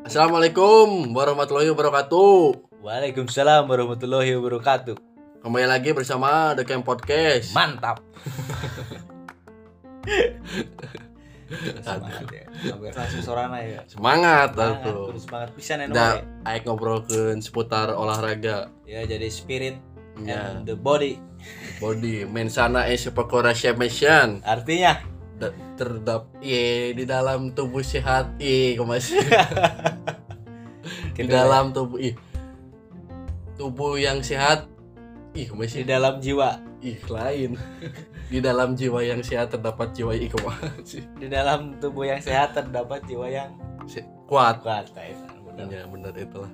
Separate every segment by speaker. Speaker 1: Assalamualaikum warahmatullahi wabarakatuh.
Speaker 2: Waalaikumsalam warahmatullahi wabarakatuh.
Speaker 1: Kembali lagi bersama The Camp Podcast.
Speaker 2: Mantap. Semangat ya. Hampir Langsung sorana ya.
Speaker 1: Semangat,
Speaker 2: Semangat,
Speaker 1: aku.
Speaker 2: kudu semangat pisan ya,
Speaker 1: Dan
Speaker 2: nomor
Speaker 1: aik ngobrolkeun seputar olahraga.
Speaker 2: ya. Ya, jadi spirit
Speaker 1: Ya,
Speaker 2: and the body.
Speaker 1: body mensana e sepakora semesan
Speaker 2: Artinya
Speaker 1: Da- terdap ye di dalam tubuh sehat ye kemas di
Speaker 2: gitu
Speaker 1: dalam tubuh ih tubuh yang sehat ih
Speaker 2: ya. di
Speaker 1: masih
Speaker 2: dalam jiwa,
Speaker 1: ih lain di dalam jiwa yang sehat terdapat jiwa ih kemas
Speaker 2: di dalam tubuh yang sehat terdapat jiwa yang
Speaker 1: Si- kuat
Speaker 2: kuat. ya, bener.
Speaker 1: Ya benar itulah.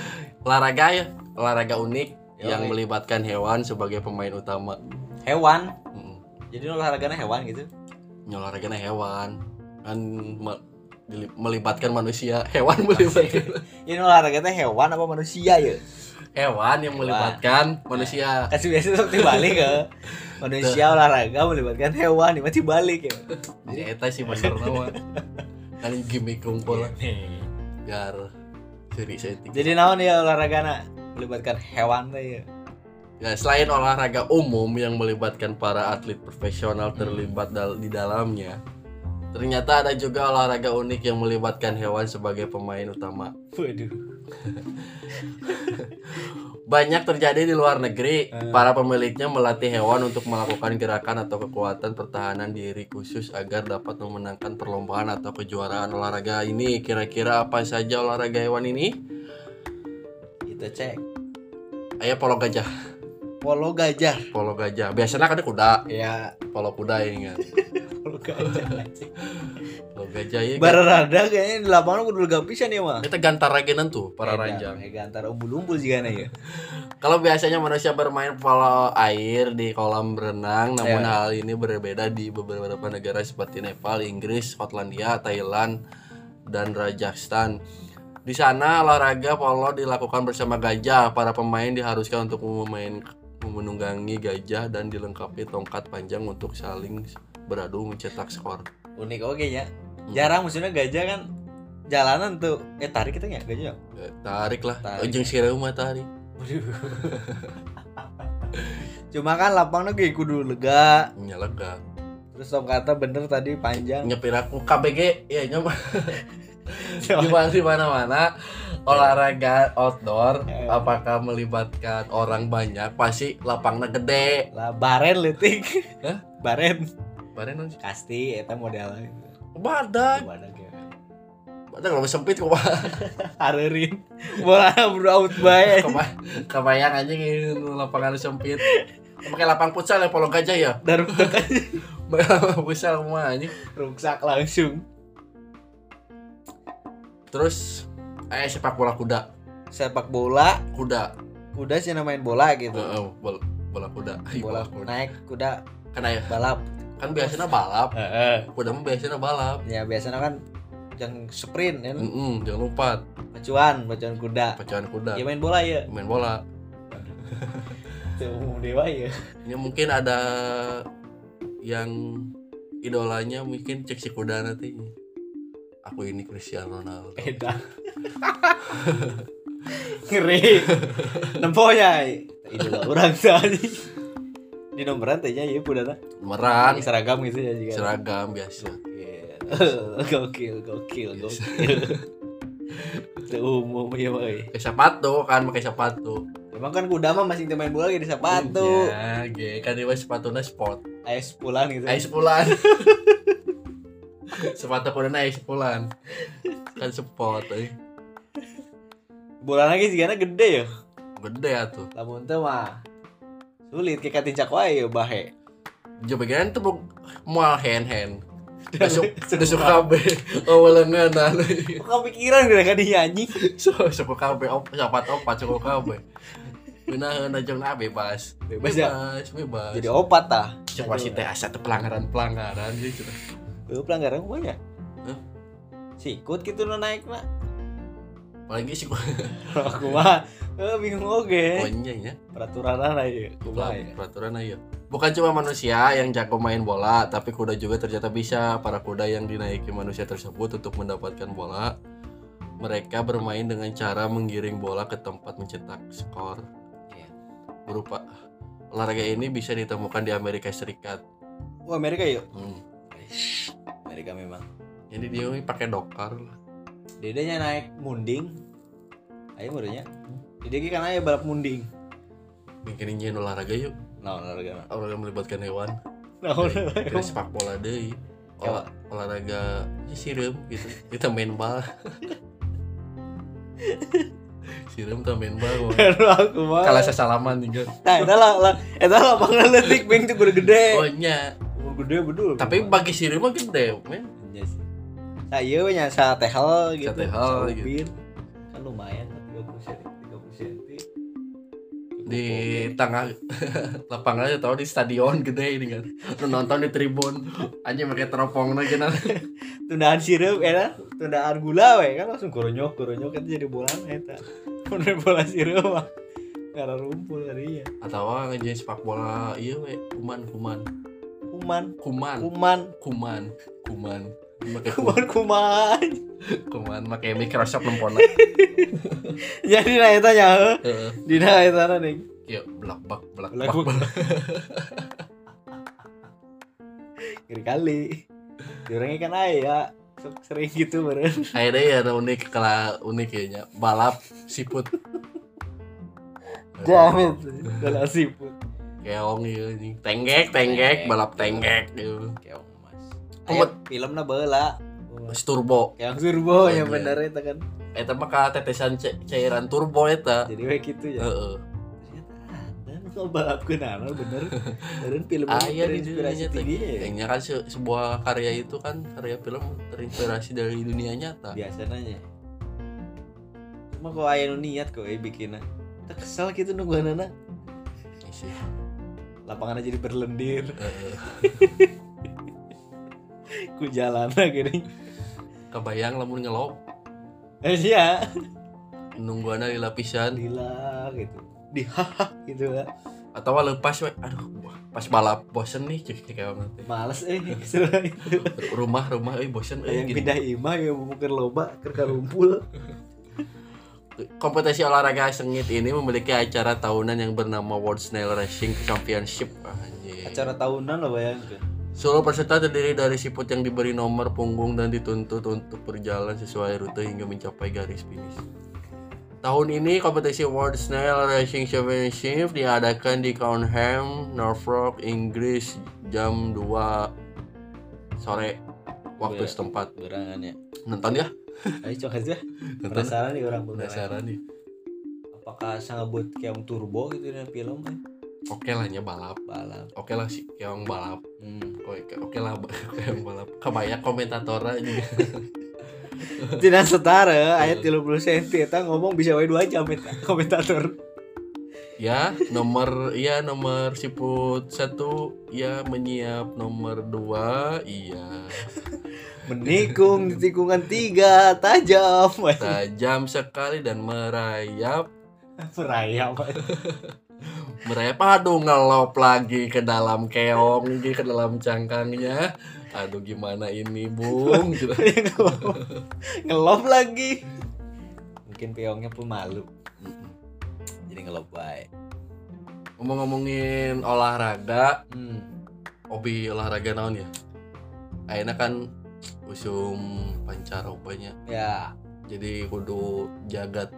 Speaker 1: olahraga ya, olahraga unik
Speaker 2: Yoi.
Speaker 1: yang melibatkan hewan sebagai pemain utama.
Speaker 2: Hewan.
Speaker 1: Mm.
Speaker 2: Jadi olahraganya hewan gitu.
Speaker 1: Ya, olahraganya hewan kan me- dili- melibatkan manusia, hewan melibatkan
Speaker 2: Ini olahraganya hewan apa manusia ya?
Speaker 1: hewan Nah. yang melibatkan manusia.
Speaker 2: Kasih biasa sok dibalik ke manusia olahraga melibatkan hewan, ini masih balik ya.
Speaker 1: Jadi eta sih bener nama. Kan gimmick kumpul biar seri setting.
Speaker 2: Jadi naon ya olahraga melibatkan hewan teh ya.
Speaker 1: Ya, selain olahraga umum yang melibatkan para atlet profesional terlibat dal- di dalamnya, ternyata ada juga olahraga unik yang melibatkan hewan sebagai pemain utama.
Speaker 2: Waduh.
Speaker 1: Banyak terjadi di luar negeri, para pemiliknya melatih hewan untuk melakukan gerakan atau kekuatan pertahanan diri khusus agar dapat memenangkan perlombaan atau kejuaraan olahraga ini. Kira-kira apa saja olahraga hewan ini?
Speaker 2: Kita Gitu, cek.
Speaker 1: Ayo polo gajah,
Speaker 2: Polo gajah.
Speaker 1: polo gajah. Biasanya kan ada kuda,
Speaker 2: Ya,
Speaker 1: polo kuda ini kan.
Speaker 2: polo gajah.
Speaker 1: Polo gajah ini. kan-
Speaker 2: Bararada kayaknya di lapangan kudu lega pisan ya mah.
Speaker 1: Kita gantar ragenan tuh para ranjang.
Speaker 2: Ya gantar umbul-umbul juga nih ya.
Speaker 1: Kalau biasanya manusia bermain polo air di kolam renang, namun hal ini berbeda di beberapa negara seperti Nepal, Inggris, Skotlandia, Thailand, dan Rajasthan. Di sana olahraga polo dilakukan bersama gajah. Para pemain diharuskan untuk memain menunggangi gajah dan dilengkapi tongkat panjang untuk saling beradu mencetak skor.
Speaker 2: Unik oke ya. Jarang maksudnya gajah kan jalanan tuh. Eh tarik kita nggak gajah?
Speaker 1: Eh, Tarik lah,
Speaker 2: Tarik.
Speaker 1: ujung sirumah tarik.
Speaker 2: Waduh. Cuma kan lapangnya kayak kudu lega.
Speaker 1: Nyalega.
Speaker 2: Terus tongkatnya bener tadi panjang.
Speaker 1: nyepir aku KBG ya nyoba di mana di mana mana olahraga outdoor apakah melibatkan orang banyak pasti lapangnya gede
Speaker 2: lah baren letik
Speaker 1: Hah?
Speaker 2: baren
Speaker 1: badan nanti
Speaker 2: pasti eta modelnya gitu
Speaker 1: Kan. badan
Speaker 2: badan kayak
Speaker 1: badan kalau sempit kok Pak.
Speaker 2: harerin bola bro out bae
Speaker 1: Keba- kebayang aja gitu lapangan sempit pakai lapang futsal ya polo gajah ya
Speaker 2: dan
Speaker 1: futsal mah anjing
Speaker 2: rusak langsung
Speaker 1: terus eh sepak bola kuda
Speaker 2: sepak bola
Speaker 1: kuda
Speaker 2: kuda sih yang main bola
Speaker 1: Eh,
Speaker 2: gitu
Speaker 1: eh, bola, bola kuda Ih,
Speaker 2: bola naik kuda
Speaker 1: kan aya-
Speaker 2: balap
Speaker 1: kan biasanya balap
Speaker 2: Heeh.
Speaker 1: kuda mah biasanya balap
Speaker 2: ya biasanya kan yang sprint kan
Speaker 1: Mm-mm, jangan lupa
Speaker 2: pacuan pacuan kuda
Speaker 1: pecahan kuda
Speaker 2: ya main bola ya
Speaker 1: main bola
Speaker 2: Tuh, umum dewa ya
Speaker 1: ini mungkin ada yang idolanya mungkin cek si kuda nanti aku ini Cristiano Ronaldo
Speaker 2: beda ngeri nemponya idola orang tadi di nomoran teh nya ieu pudana
Speaker 1: meran
Speaker 2: seragam gitu ya juga
Speaker 1: Kan. seragam biasa
Speaker 2: Yeah. gokil gokil gokil Teu umum ya boy
Speaker 1: pakai sepatu kan pakai sepatu
Speaker 2: emang kan kuda mah masih main bola di sepatu
Speaker 1: ya ge kan dia sepatunya sport
Speaker 2: ayah sepulan gitu
Speaker 1: ais pulan sepatu kuda ais pulan kan sport eh.
Speaker 2: bola lagi sih gede ya
Speaker 1: gede ya tuh
Speaker 2: lamun teh mah sulit kayak katincak wae ya bahe
Speaker 1: jebegan tuh bu- mual hand hand Desuk, desuk KB, Oh, awalangan
Speaker 2: Iya.
Speaker 1: aneh.
Speaker 2: kepikiran gara kan nyanyi
Speaker 1: so siapa kabe op siapa topat siapa kabe Benahan aja nah bebas
Speaker 2: Bebas ya?
Speaker 1: bebas
Speaker 2: jadi opat tah
Speaker 1: siapa sih teh asa teh pelanggaran pelanggaran gitu
Speaker 2: Lu pelanggaran gue ya?
Speaker 1: Hah?
Speaker 2: Sikut gitu nu naik mah.
Speaker 1: apalagi sih
Speaker 2: Aku mah eh, bingung oge.
Speaker 1: konyol ya
Speaker 2: Peraturan aja ya. Kumaha ya?
Speaker 1: peraturan aja Bukan cuma manusia yang jago main bola, tapi kuda juga ternyata bisa. Para kuda yang dinaiki manusia tersebut untuk mendapatkan bola, mereka bermain dengan cara menggiring bola ke tempat mencetak skor.
Speaker 2: Iya.
Speaker 1: Berupa olahraga ini bisa ditemukan di Amerika Serikat.
Speaker 2: Wah Amerika yuk.
Speaker 1: Hmm.
Speaker 2: Amerika memang.
Speaker 1: Jadi dia ini pakai dokar lah.
Speaker 2: Dedenya naik munding. Ayo muridnya. Jadi kan ayo balap munding.
Speaker 1: Mikirin nyeun olahraga yuk.
Speaker 2: Nah, olahraga.
Speaker 1: Olahraga melibatkan hewan.
Speaker 2: Nah, olahraga. Ya.
Speaker 1: Terus sepak bola deh. Olah, olahraga ya, siram gitu. Kita main bal. siram kita main bal.
Speaker 2: Baru aku mah.
Speaker 1: Kalau saya salaman juga.
Speaker 2: Nah, eta lah, lah, eta lapangan letik bing tuh gede gede.
Speaker 1: Oh nya.
Speaker 2: Gede gede bedul.
Speaker 1: Tapi bagi siram mah gede, men.
Speaker 2: Iya sih. Nah, iya we nya sa tehel gitu.
Speaker 1: Satehel
Speaker 2: sa
Speaker 1: gitu.
Speaker 2: ubin. Kan lumayan 30 cm, 30 cm.
Speaker 1: Di tengah lapangan aja tahu di stadion gede ini kan. Lu nonton di tribun anjing pakai teropong lagi nah. nanti.
Speaker 2: tundaan sirup eta, tundaan gula we kan langsung goronyok goronyok itu jadi bola eta. Mun bola sirup mah karena rumpul tadi ya.
Speaker 1: Atau ngajin sepak bola iya we kuman kuman
Speaker 2: Kuman,
Speaker 1: kuman
Speaker 2: kuman,
Speaker 1: kuman kuman pakai kuman
Speaker 2: kuman, kuman.
Speaker 1: kuman pakai Microsoft lempona.
Speaker 2: Jadi nah eta nya heuh.
Speaker 1: Heeh.
Speaker 2: Dina eta na nih.
Speaker 1: Ya belak bak belak
Speaker 2: Belak
Speaker 1: bak.
Speaker 2: bak.
Speaker 1: belak.
Speaker 2: Kiri kali. Diurangnya kan aya sok sering gitu beren.
Speaker 1: Akhirnya ya ada unik kala unik kayaknya balap siput.
Speaker 2: Jamet. Kalau siput.
Speaker 1: Keong ya anjing. Tenggek tenggek balap tenggek gitu.
Speaker 2: Keong Mas.
Speaker 1: Kumat.
Speaker 2: Aya filmna baheula.
Speaker 1: Terus turbo.
Speaker 2: Keong Surbo
Speaker 1: Iya.
Speaker 2: yang bener eta kan.
Speaker 1: Eta mah ka tetesan ca- cairan turbo eta.
Speaker 2: Jadi we gitu ya.
Speaker 1: Heeh.
Speaker 2: Dan kalau balap kenapa bener Dan film
Speaker 1: Aya gitu, iya, di
Speaker 2: inspirasi
Speaker 1: dunia nyata.
Speaker 2: tinggi ya
Speaker 1: Kayaknya kan se- sebuah karya itu kan karya film terinspirasi dari dunia nyata.
Speaker 2: Biasanya ya Cuma kalau ayah nu niat kok eh bikinnya Kita kesel gitu nunggu anak
Speaker 1: Iya sih.
Speaker 2: Lapangan jadi berlendir
Speaker 1: Heeh.
Speaker 2: Ku jalan gini
Speaker 1: Kebayang lamun ngelop
Speaker 2: Eh iya
Speaker 1: nungguana di lapisan
Speaker 2: Lila gitu Di hahaha gitu kan
Speaker 1: atau lepas we aduh pas balap bosen nih cek cek keong nanti.
Speaker 2: Males eh kesel gitu
Speaker 1: rumah rumah eh bosen eh
Speaker 2: Yang
Speaker 1: gini.
Speaker 2: pindah imah ya bukan loba ke rumpul
Speaker 1: Kompetisi olahraga sengit ini memiliki acara tahunan yang bernama World Snail Racing Championship. Anjir.
Speaker 2: Acara tahunan lo bayangkan
Speaker 1: Seluruh peserta terdiri dari siput yang diberi nomor punggung dan dituntut untuk berjalan sesuai rute hingga mencapai garis finish. Tahun ini kompetisi World Snail Racing Championship diadakan di Countdown, Norfolk, Inggris jam 2 sore waktu
Speaker 2: Iya.
Speaker 1: setempat.
Speaker 2: Berangan ya
Speaker 1: Nonton ya?
Speaker 2: Ayo coba aja
Speaker 1: Nonton.
Speaker 2: Penasaran nih orang beneran
Speaker 1: Penasaran nih.
Speaker 2: apakah sangat keong turbo gitu di film kan
Speaker 1: Oke lah nya balap.
Speaker 2: balap
Speaker 1: Oke lah sih yang balap.
Speaker 2: hmm.
Speaker 1: Oke, oke lah, oke yang balap. Kebanyak komentatornya juga.
Speaker 2: tidak setara ayat 30 cm eta ngomong bisa wae 2 jam eta komentator
Speaker 1: ya nomor ya nomor siput satu ya menyiap nomor dua iya
Speaker 2: menikung di tikungan 3 tajam
Speaker 1: tajam sekali dan merayap
Speaker 2: merayap
Speaker 1: merayap aduh ngelop lagi ke dalam keong lagi ke dalam cangkangnya aduh gimana ini bung Gitu.
Speaker 2: ngelop lagi mungkin peongnya pemalu jadi ngelop bae
Speaker 1: ngomong-ngomongin olahraga
Speaker 2: hmm.
Speaker 1: hobi olahraga naon ya akhirnya kan usum pancarobanya
Speaker 2: ya
Speaker 1: jadi kudu jagat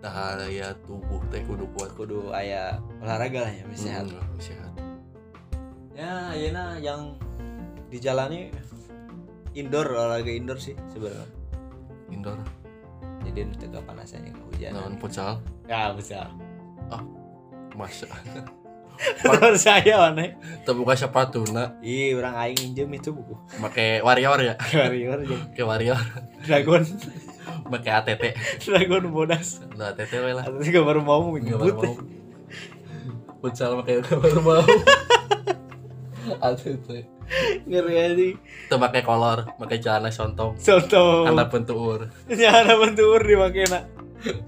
Speaker 1: daya tubuh teh kudu kuat
Speaker 2: kudu aya olahraga lah ya misalnya
Speaker 1: Hmm, sehat.
Speaker 2: ya ayeuna yang dijalani indoor olahraga indoor sih sebenarnya
Speaker 1: Indoor,
Speaker 2: jadi itu kepanasan yang kehujanan
Speaker 1: naon futsal?
Speaker 2: ya bisa
Speaker 1: Masa
Speaker 2: terus saya eh. mana
Speaker 1: terbuka sepatu nak
Speaker 2: ih orang aing injem itu buku
Speaker 1: make warrior ya?
Speaker 2: warrior jeung
Speaker 1: Make warrior,
Speaker 2: dragon
Speaker 1: make ATT.
Speaker 2: dragon bodas
Speaker 1: Nah, ATT we lah.
Speaker 2: atau juga baru mau
Speaker 1: Nggak baru
Speaker 2: ngebut
Speaker 1: mau. Futsal make nggak baru mau. ATT.
Speaker 2: ngeri aja
Speaker 1: Teu make kolor, make celana sontong.
Speaker 2: soto
Speaker 1: Karena pentuur,
Speaker 2: nyana bentur dipakai nak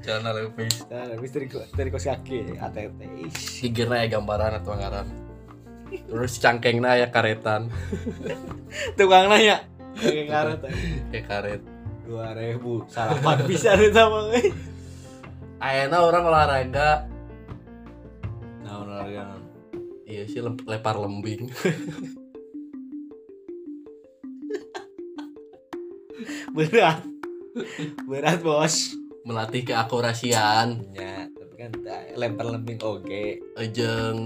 Speaker 1: celana levis.
Speaker 2: nah habis dari dari kos kaki ATT Ih,
Speaker 1: Sigirna ya gambaran atau ngaran. terus cangkengna aya karetan
Speaker 2: tukang nanya pakai karet
Speaker 1: ya karet
Speaker 2: dua ribu sarapan bisa deh sama gue
Speaker 1: Ayana orang olahraga
Speaker 2: nah olahraga naon.
Speaker 1: iya sih lem- lepar lembing
Speaker 2: berat berat bos
Speaker 1: melatih keakurasian
Speaker 2: ya tapi kan tah, lempar lemping oke
Speaker 1: jeng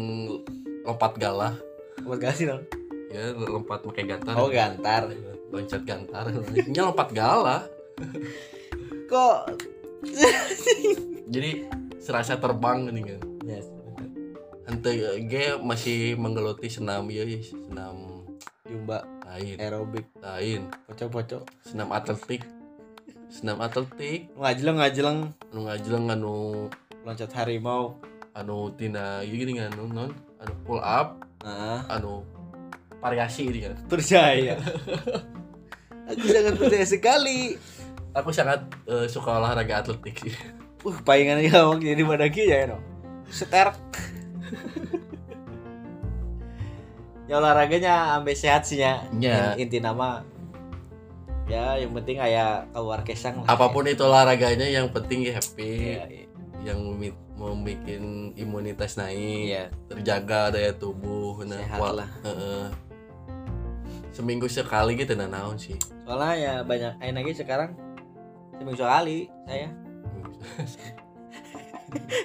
Speaker 1: lompat galah
Speaker 2: buat gak sih dong
Speaker 1: ya lompat pakai gantar
Speaker 2: oh gantar
Speaker 1: loncat gantar ini lompat galah
Speaker 2: kok
Speaker 1: jadi serasa terbang gini kan
Speaker 2: yes.
Speaker 1: ente ge masih menggeluti senam ya senam
Speaker 2: jumba
Speaker 1: lain
Speaker 2: aerobik
Speaker 1: lain
Speaker 2: poco poco
Speaker 1: senam atletik senam atletik
Speaker 2: ngajeleng ngajeleng
Speaker 1: anu ngajleng anu
Speaker 2: loncat harimau
Speaker 1: anu tina ieu gini kan anu non anu pull up
Speaker 2: ah
Speaker 1: anu variasi ini kan
Speaker 2: percaya aku sangat percaya sekali
Speaker 1: aku sangat eh, suka olahraga atletik sih
Speaker 2: uh palingan aja waktu jadi badaki ya no seter ya olahraganya ambil sehat sih ya
Speaker 1: Ya.
Speaker 2: In- inti nama ya yang penting kayak keluar kesang lah ya.
Speaker 1: apapun itu olahraganya yang penting ya happy
Speaker 2: Iya,
Speaker 1: yang memi- membuat imunitas naik
Speaker 2: iya
Speaker 1: terjaga daya tubuh nah
Speaker 2: sehat
Speaker 1: wa-
Speaker 2: lah
Speaker 1: Heeh. seminggu sekali gitu nah naon sih
Speaker 2: soalnya ya banyak ayo lagi sekarang seminggu sekali saya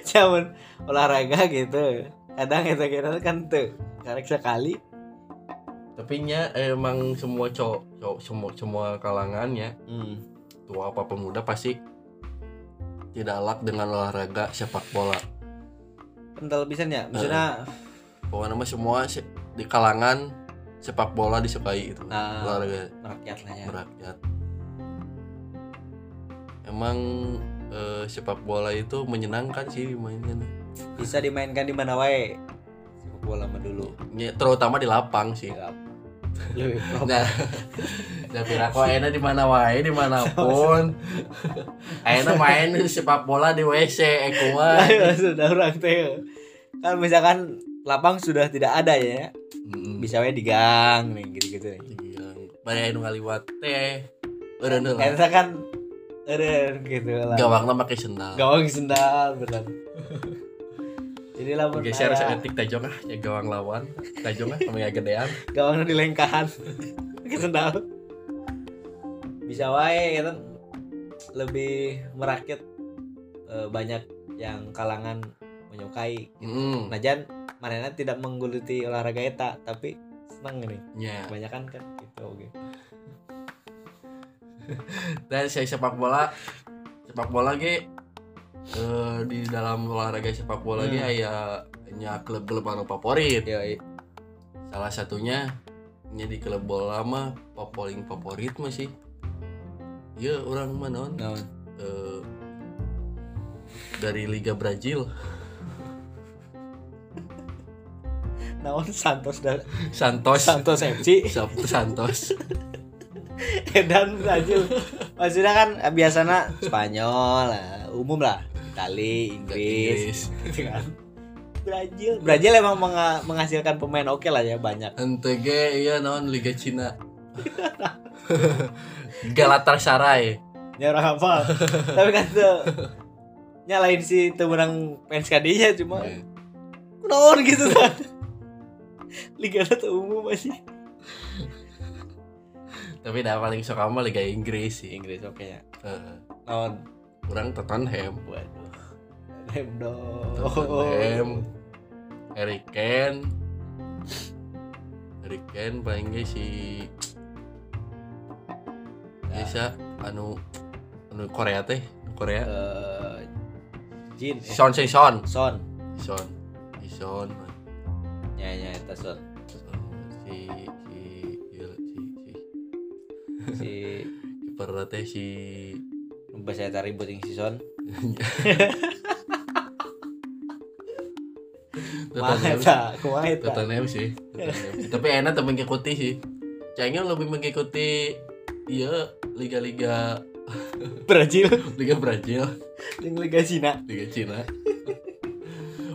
Speaker 2: cuman olahraga gitu kadang kita kira kan tuh karek sekali
Speaker 1: tapi nya emang semua cowok cowok semua semua kalangannya
Speaker 2: hmm.
Speaker 1: tua apa pemuda pasti tidak alak dengan olahraga sepak bola
Speaker 2: kental pisan ya maksudnya
Speaker 1: pokoknya mah semua se- di kalangan sepak bola disukai gitu. itu
Speaker 2: Nah.
Speaker 1: olahraga
Speaker 2: merakyat lah ya
Speaker 1: merakyat emang eh, sepak bola itu menyenangkan sih dimainkan
Speaker 2: bisa dimainkan di mana wae sepak bola mah dulu
Speaker 1: Ya, terutama di lapang sih
Speaker 2: Siap. lebih Iya, proper.
Speaker 1: Nah, tapi aku enak di mana wae di manapun. Enak main sepak bola di eh, WC aku mah.
Speaker 2: Ayo, Nah, iya, sudah orang teh kan misalkan lapang sudah tidak ada ya
Speaker 1: Mm-mm.
Speaker 2: bisa wae di gang nih gitu gitu nih
Speaker 1: Dibilang, Bari anu ngaliwat teh. Eureun heula.
Speaker 2: Eta kan eren gitu lah
Speaker 1: Gawangna make sendal.
Speaker 2: gawang sendal benar jadi lah
Speaker 1: Geser seetik tajong ah ya gawang lawan. Tajong ah kami gedean.
Speaker 2: gawangnya dilengkahan ke sendal bisa wae gitu lebih merakit eh, banyak yang kalangan menyukai
Speaker 1: Mm.
Speaker 2: Najan manena tidak mengguluti olahraga eta tapi seneng nih
Speaker 1: Ya.
Speaker 2: kebanyakan kan gitu oke
Speaker 1: Dan saya sepak bola sepak bola ge eh, di dalam olahraga sepak bola ge
Speaker 2: Hmm.
Speaker 1: aya nya klub-klub anu favorit.
Speaker 2: Yoi.
Speaker 1: salah satunya nya di klub bola mah paling favorit mah sih ya orang mah naon?
Speaker 2: naon
Speaker 1: Eh, dari Liga Brazil
Speaker 2: naon Santos dan
Speaker 1: Santos
Speaker 2: Oh, Santos FC
Speaker 1: Sab- Santos
Speaker 2: dan Brazil maksudnya kan biasanya Spanyol lah umum lah Itali Inggris
Speaker 1: Inggris
Speaker 2: gitu kan Brazil Brazil emang menga- menghasilkan pemain oke lah ya banyak
Speaker 1: ente ge iya naon Liga Cina Galatasaray
Speaker 2: ya orang hafal tapi kan tuh nyalain si tuh menang fans kadinya cuma naon gitu kan Liga tuh umum masih
Speaker 1: tapi dah paling suka mah Liga Inggris sih
Speaker 2: Inggris oke ya
Speaker 1: Eh,
Speaker 2: naon
Speaker 1: orang Tottenham
Speaker 2: waduh Rem dong
Speaker 1: Tottenham, Harry Kane, Harry Kane paling ge si Bisa anu anu Korea teh, anu Korea.
Speaker 2: Eh, Jin eh,
Speaker 1: Son si Son,
Speaker 2: Son
Speaker 1: Son, si Son,
Speaker 2: ya ya itu Son
Speaker 1: Son. si si ieu lah, si si
Speaker 2: si
Speaker 1: kiper teh si
Speaker 2: Numpes saya tarik buat yang si Son Kumaha eta?
Speaker 1: Tottenham,
Speaker 2: Kumaha eta?
Speaker 1: Tottenham sih. Tottenham. Tapi enak tapi mengikuti sih. Cengnya lebih mengikuti iya liga-liga
Speaker 2: Brazil
Speaker 1: Liga Brazil,
Speaker 2: Yang Liga Cina
Speaker 1: Liga Cina.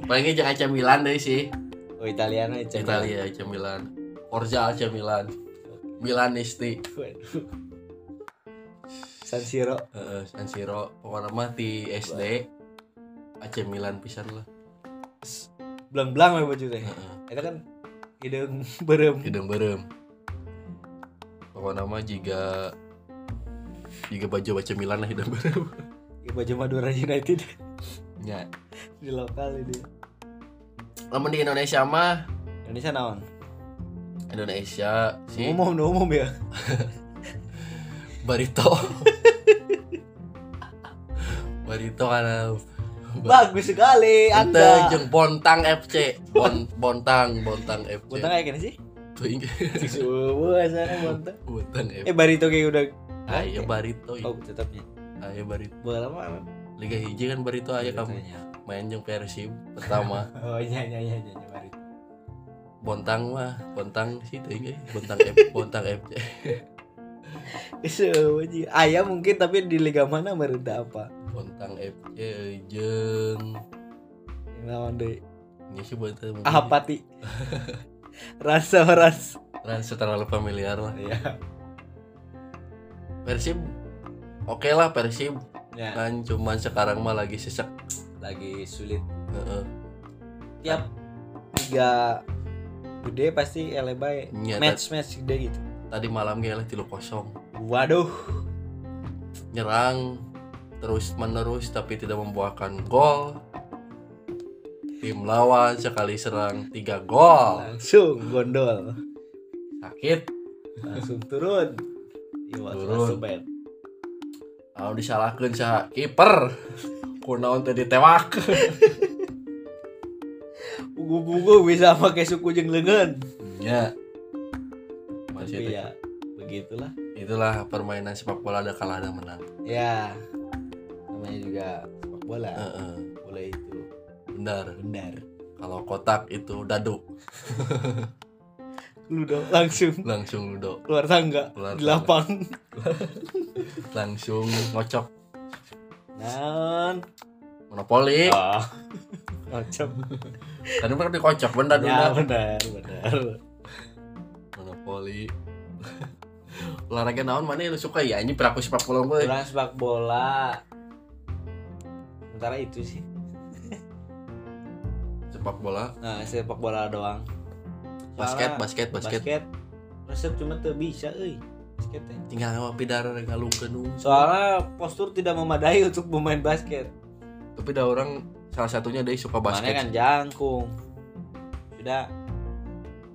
Speaker 1: Palingnya jangan Milan deh sih.
Speaker 2: Oh Italiano ya Italiano.
Speaker 1: Italia AC Milan Forza AC Milan Milanisti
Speaker 2: Waduh. San Siro.
Speaker 1: Heeh, San Siro pokoknya mah di SD AC Milan pisan lah
Speaker 2: Belang-belang we baju teh.
Speaker 1: Heeh.
Speaker 2: Itu kan hidung berem.
Speaker 1: hidung berem pokoknya mah jika jika baju AC Milan lah hidung berem
Speaker 2: Ya, baju Madura United
Speaker 1: ya
Speaker 2: di lokal ini.
Speaker 1: Lamun di Indonesia mah
Speaker 2: Indonesia naon?
Speaker 1: Indonesia si
Speaker 2: Umum nu umum ya.
Speaker 1: Barito Barito karena
Speaker 2: Bagus sekali
Speaker 1: Anda
Speaker 2: Anda.
Speaker 1: jeung Bontang FC Bon Bontang Bontang FC
Speaker 2: Bontang kayak gini sih.
Speaker 1: Tuh, ingat.
Speaker 2: Subuh asalnya bontang.
Speaker 1: Bontang FC
Speaker 2: Eh Barito kayak udah
Speaker 1: Ayo Barito iya.
Speaker 2: Oh, tetapnya.
Speaker 1: Ayo Barito
Speaker 2: Bola mana?
Speaker 1: Liga hiji kan Barito aja kamu main jeung Persib pertama
Speaker 2: Oh, iya iya iya iya iya, Barito.
Speaker 1: Bontang mah Bontang sih tuh ingat. Bontang F- Bontang FC
Speaker 2: Subuh aja. Ayah mungkin tapi di liga mana mereda apa?
Speaker 1: Bontang FC jeung
Speaker 2: Yang lawan deh.
Speaker 1: ini sih Bontang
Speaker 2: Ahapati. Rasa ras.
Speaker 1: Rasa terlalu familiar lah
Speaker 2: Iya.
Speaker 1: Persib oke lah Persib
Speaker 2: Ya.
Speaker 1: kan cuman sekarang mah lagi sesek
Speaker 2: lagi sulit
Speaker 1: Heeh.
Speaker 2: tiap tiga gede pasti elebay
Speaker 1: Nya, ta-
Speaker 2: match match gede gitu
Speaker 1: tadi malam kayak lah tilu kosong
Speaker 2: waduh
Speaker 1: nyerang terus menerus tapi tidak membuahkan gol tim lawan sekali serang tiga
Speaker 2: Oh.
Speaker 1: gol
Speaker 2: langsung gondol
Speaker 1: sakit
Speaker 2: langsung turun Iwas
Speaker 1: Turun.
Speaker 2: langsung bad.
Speaker 1: lalu disalahkan sa kiper kunaon tadi tewak
Speaker 2: Buku-buku bisa pakai suku jeung lengan.
Speaker 1: ya masih
Speaker 2: Tapi
Speaker 1: itu.
Speaker 2: ya begitulah.
Speaker 1: itulah permainan sepak bola ada kalah ada menang
Speaker 2: Ya namanya juga sepak bola.
Speaker 1: Heeh.
Speaker 2: Bola itu
Speaker 1: benar
Speaker 2: benar.
Speaker 1: kalau kotak itu dadu
Speaker 2: Lu dong langsung
Speaker 1: langsung ludo
Speaker 2: keluar tangga
Speaker 1: Keluar
Speaker 2: di
Speaker 1: tangga.
Speaker 2: lapang.
Speaker 1: langsung ngocok
Speaker 2: Naon?
Speaker 1: monopoli
Speaker 2: Ah. Macam.
Speaker 1: kan mereka dikocok bener
Speaker 2: Ya
Speaker 1: dulu
Speaker 2: benar, benar.
Speaker 1: monopoli olahraga naon mana yang lu suka ya ini peraku sepak bola gue
Speaker 2: Kurang sepak bola. Sementara itu sih.
Speaker 1: sepak bola
Speaker 2: Nah, sepak bola doang.
Speaker 1: basket
Speaker 2: Soalnya
Speaker 1: basket basket,
Speaker 2: basket. Resep cuma tuh bisa euy. Basket teh.
Speaker 1: tinggal sama pidara ngalung kenung
Speaker 2: Soalnya postur tidak memadai untuk bermain basket.
Speaker 1: tapi ada orang salah satunya dia suka basket
Speaker 2: Basket kan jangkung. Sudah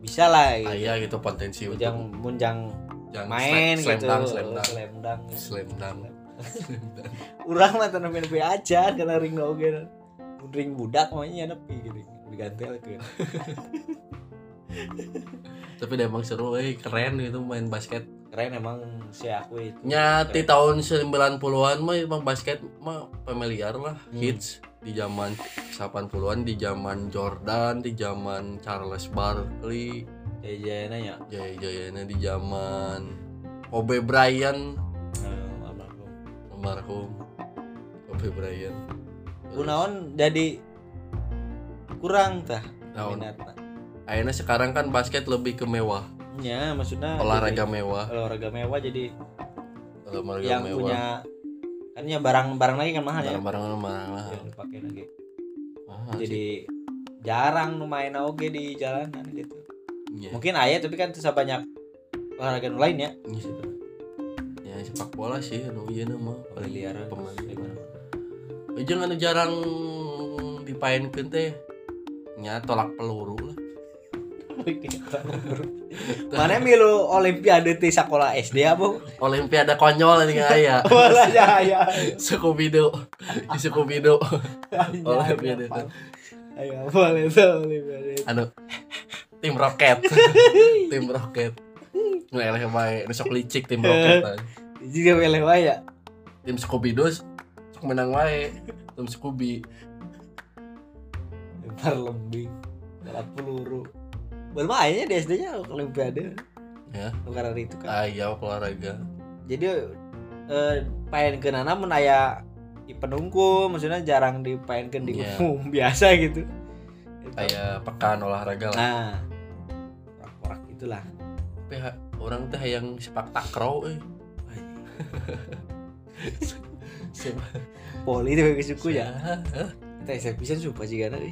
Speaker 2: bisa lah gitu.
Speaker 1: ayah gitu potensi untuk
Speaker 2: Munjang, munjang
Speaker 1: yang
Speaker 2: main
Speaker 1: slam, slam dunk,
Speaker 2: gitu.
Speaker 1: slam dunk.
Speaker 2: Slam dunk.
Speaker 1: Slam dunk. Slam dunk.
Speaker 2: Urang mah tanam NP aja karena ring no oge. Ring budak namanya nepi gitu. Digantel ke.
Speaker 1: tapi dia emang seru eh keren gitu main basket
Speaker 2: Keren emang si aku itu.
Speaker 1: nyati tahun 90-an mah emang basket mah familiar lah
Speaker 2: Hmm.
Speaker 1: hits di zaman 80-an di zaman Jordan di zaman Charles Barkley
Speaker 2: Jajan nanya.
Speaker 1: jaya jayanya di zaman Kobe Bryant
Speaker 2: Nah,
Speaker 1: almarhum Kobe Bryant Terus,
Speaker 2: Kunaon jadi kurang tah
Speaker 1: naon?
Speaker 2: minatna.
Speaker 1: akhirnya sekarang kan basket lebih ke mewah
Speaker 2: Ya maksudnya
Speaker 1: olahraga
Speaker 2: jadi-
Speaker 1: mewah
Speaker 2: olahraga mewah jadi
Speaker 1: olahraga
Speaker 2: yang
Speaker 1: mewah
Speaker 2: punya kan ya barang-barang lagi kan mahal ya.
Speaker 1: barang-barang mahal
Speaker 2: Yang dipakai lagi.
Speaker 1: Mahal sih.
Speaker 2: Jadi jarang nu main oge di jalanan gitu.
Speaker 1: Iya.
Speaker 2: Mungkin aya tapi kan susah banyak olahraga nu lain ya.
Speaker 1: Iya sih. ya sepak bola sih anu ieu na mah paling
Speaker 2: Liar
Speaker 1: pemain.
Speaker 2: gimana?
Speaker 1: Jeung anu jarang dipaenkeun teh nya tolak peluru lah.
Speaker 2: Mana milu olimpiade di sekolah SD ya, Bu?
Speaker 1: Olimpiade konyol ini aya.
Speaker 2: Bola ya.
Speaker 1: Scooby Doo. Di Scooby Doo. Olimpiade itu.
Speaker 2: Ayo, boleh tuh Olimpiade.
Speaker 1: Anu tim roket. tim roket. Ngeleleh bae nu sok licik tim roket. lah.
Speaker 2: Jika pilih wae ya.
Speaker 1: Tim Scooby Doo sok menang wae. Tim Scooby.
Speaker 2: Lempar lembing, balap peluru. Belum aja di SD-nya Olimpiade.
Speaker 1: Ya.
Speaker 2: Tukaran itu kan.
Speaker 1: Aya olahraga.
Speaker 2: Jadi eh paenkeun anak mun aya di penungku, maksudnya jarang dipaenkeun di
Speaker 1: Iya.
Speaker 2: umum biasa gitu. Itu.
Speaker 1: kayak pekan olahraga lah
Speaker 2: Nah, korak-korak itulah.
Speaker 1: tapi ha- orang teh yang sepak takraw eh Sepak-
Speaker 2: Poli itu bagi suku ya.
Speaker 1: Hah?
Speaker 2: Kita bisa pisan sumpah jigana euy.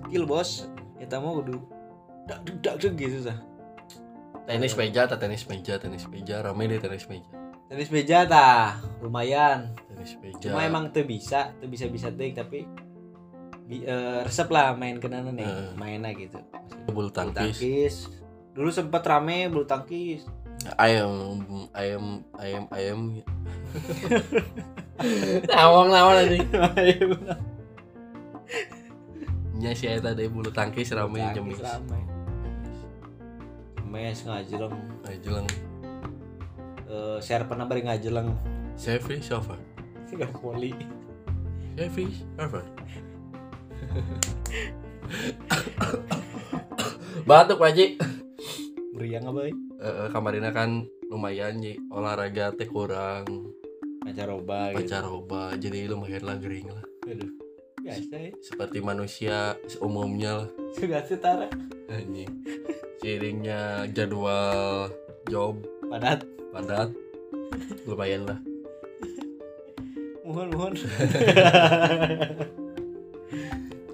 Speaker 2: Skill bos. Eta mah kudu dak duk dak duk gitu sah.
Speaker 1: tenis meja ta tenis meja tenis meja rame deh tenis meja
Speaker 2: Tenis meja tah lumayan.
Speaker 1: tenis meja
Speaker 2: Cuma emang tuh bisa, tuh bisa-bisa deh tapi bi- eh, resep lah main kenana nih,
Speaker 1: Heeh.
Speaker 2: mainnya gitu.
Speaker 1: bulu
Speaker 2: Bulu
Speaker 1: tangkis
Speaker 2: tangkis. Dulu sempet rame bulu tangkis.
Speaker 1: ayam ayam ayam ayam nawang nawang nanti nya si Eta deh bulu tangkis rame
Speaker 2: Tangkis
Speaker 1: jemis
Speaker 2: rame. Mes ngajeleng,
Speaker 1: jelang
Speaker 2: Eh, share pernah bari ngajeleng.
Speaker 1: Selfish over
Speaker 2: Tiga poli.
Speaker 1: Selfish over batuk Pak Ji
Speaker 2: Meriang apa?
Speaker 1: Eh, kamarina kan lumayan Ji. olahraga teh kurang
Speaker 2: Pancaroba gitu.
Speaker 1: pacaroba jadi lumayan lah gering lah
Speaker 2: Aduh. Biasa ya.
Speaker 1: seperti manusia umumnya lah
Speaker 2: Sudah setara.
Speaker 1: anjing siringnya jadwal job
Speaker 2: Padat.
Speaker 1: padat lumayan lah
Speaker 2: Mohon mohon.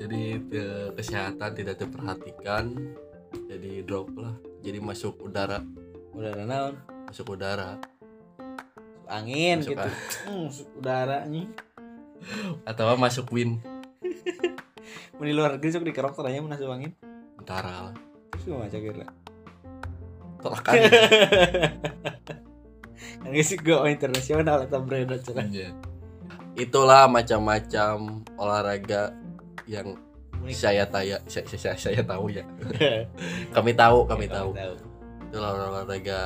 Speaker 1: jadi te- kesehatan tidak diperhatikan jadi drop lah jadi masuk udara
Speaker 2: Udah naon?
Speaker 1: masuk udara
Speaker 2: Angin
Speaker 1: Masuk
Speaker 2: gitu. Hmm, udara nih.
Speaker 1: atau masuk wind
Speaker 2: Mau di luar negeri sok dikerok teranya mau nasi angin.
Speaker 1: utara lah
Speaker 2: Cuma aja gitu lah.
Speaker 1: tolakan
Speaker 2: Kan sih gua internasional atau brand cerah.
Speaker 1: Iya. itulah macam-macam olahraga yang saya taya saya, saya, saya tahu ya kami tahu kami Iya, tahu itulah olahraga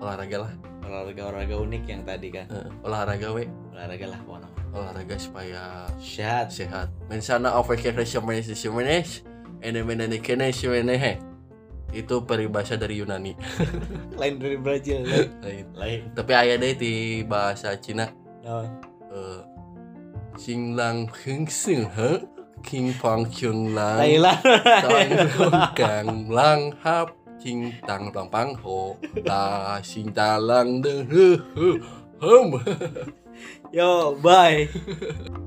Speaker 1: olahraga lah
Speaker 2: Olahraga olahraga unik yang tadi kan.
Speaker 1: Eh, olahraga we
Speaker 2: Olahraga lah pokoknya.
Speaker 1: olahraga supaya
Speaker 2: Sehat.
Speaker 1: sehat. Mensana overcreation menes menes ene menene kene shimenehe. Itu peribahasa dari Yunani.
Speaker 2: Lain dari Brazil.
Speaker 1: Lain.
Speaker 2: Lain.
Speaker 1: Tapi aya deh di bahasa Cina
Speaker 2: Naon?
Speaker 1: eh Xing Lang Heng Sing He King Pang Chung Lang
Speaker 2: Thailand.
Speaker 1: Tang Rong Kang Lang Hap Xing Tang Pang Pang Ho Ta Xing Ta Lang De He He Hem
Speaker 2: Yo, bye.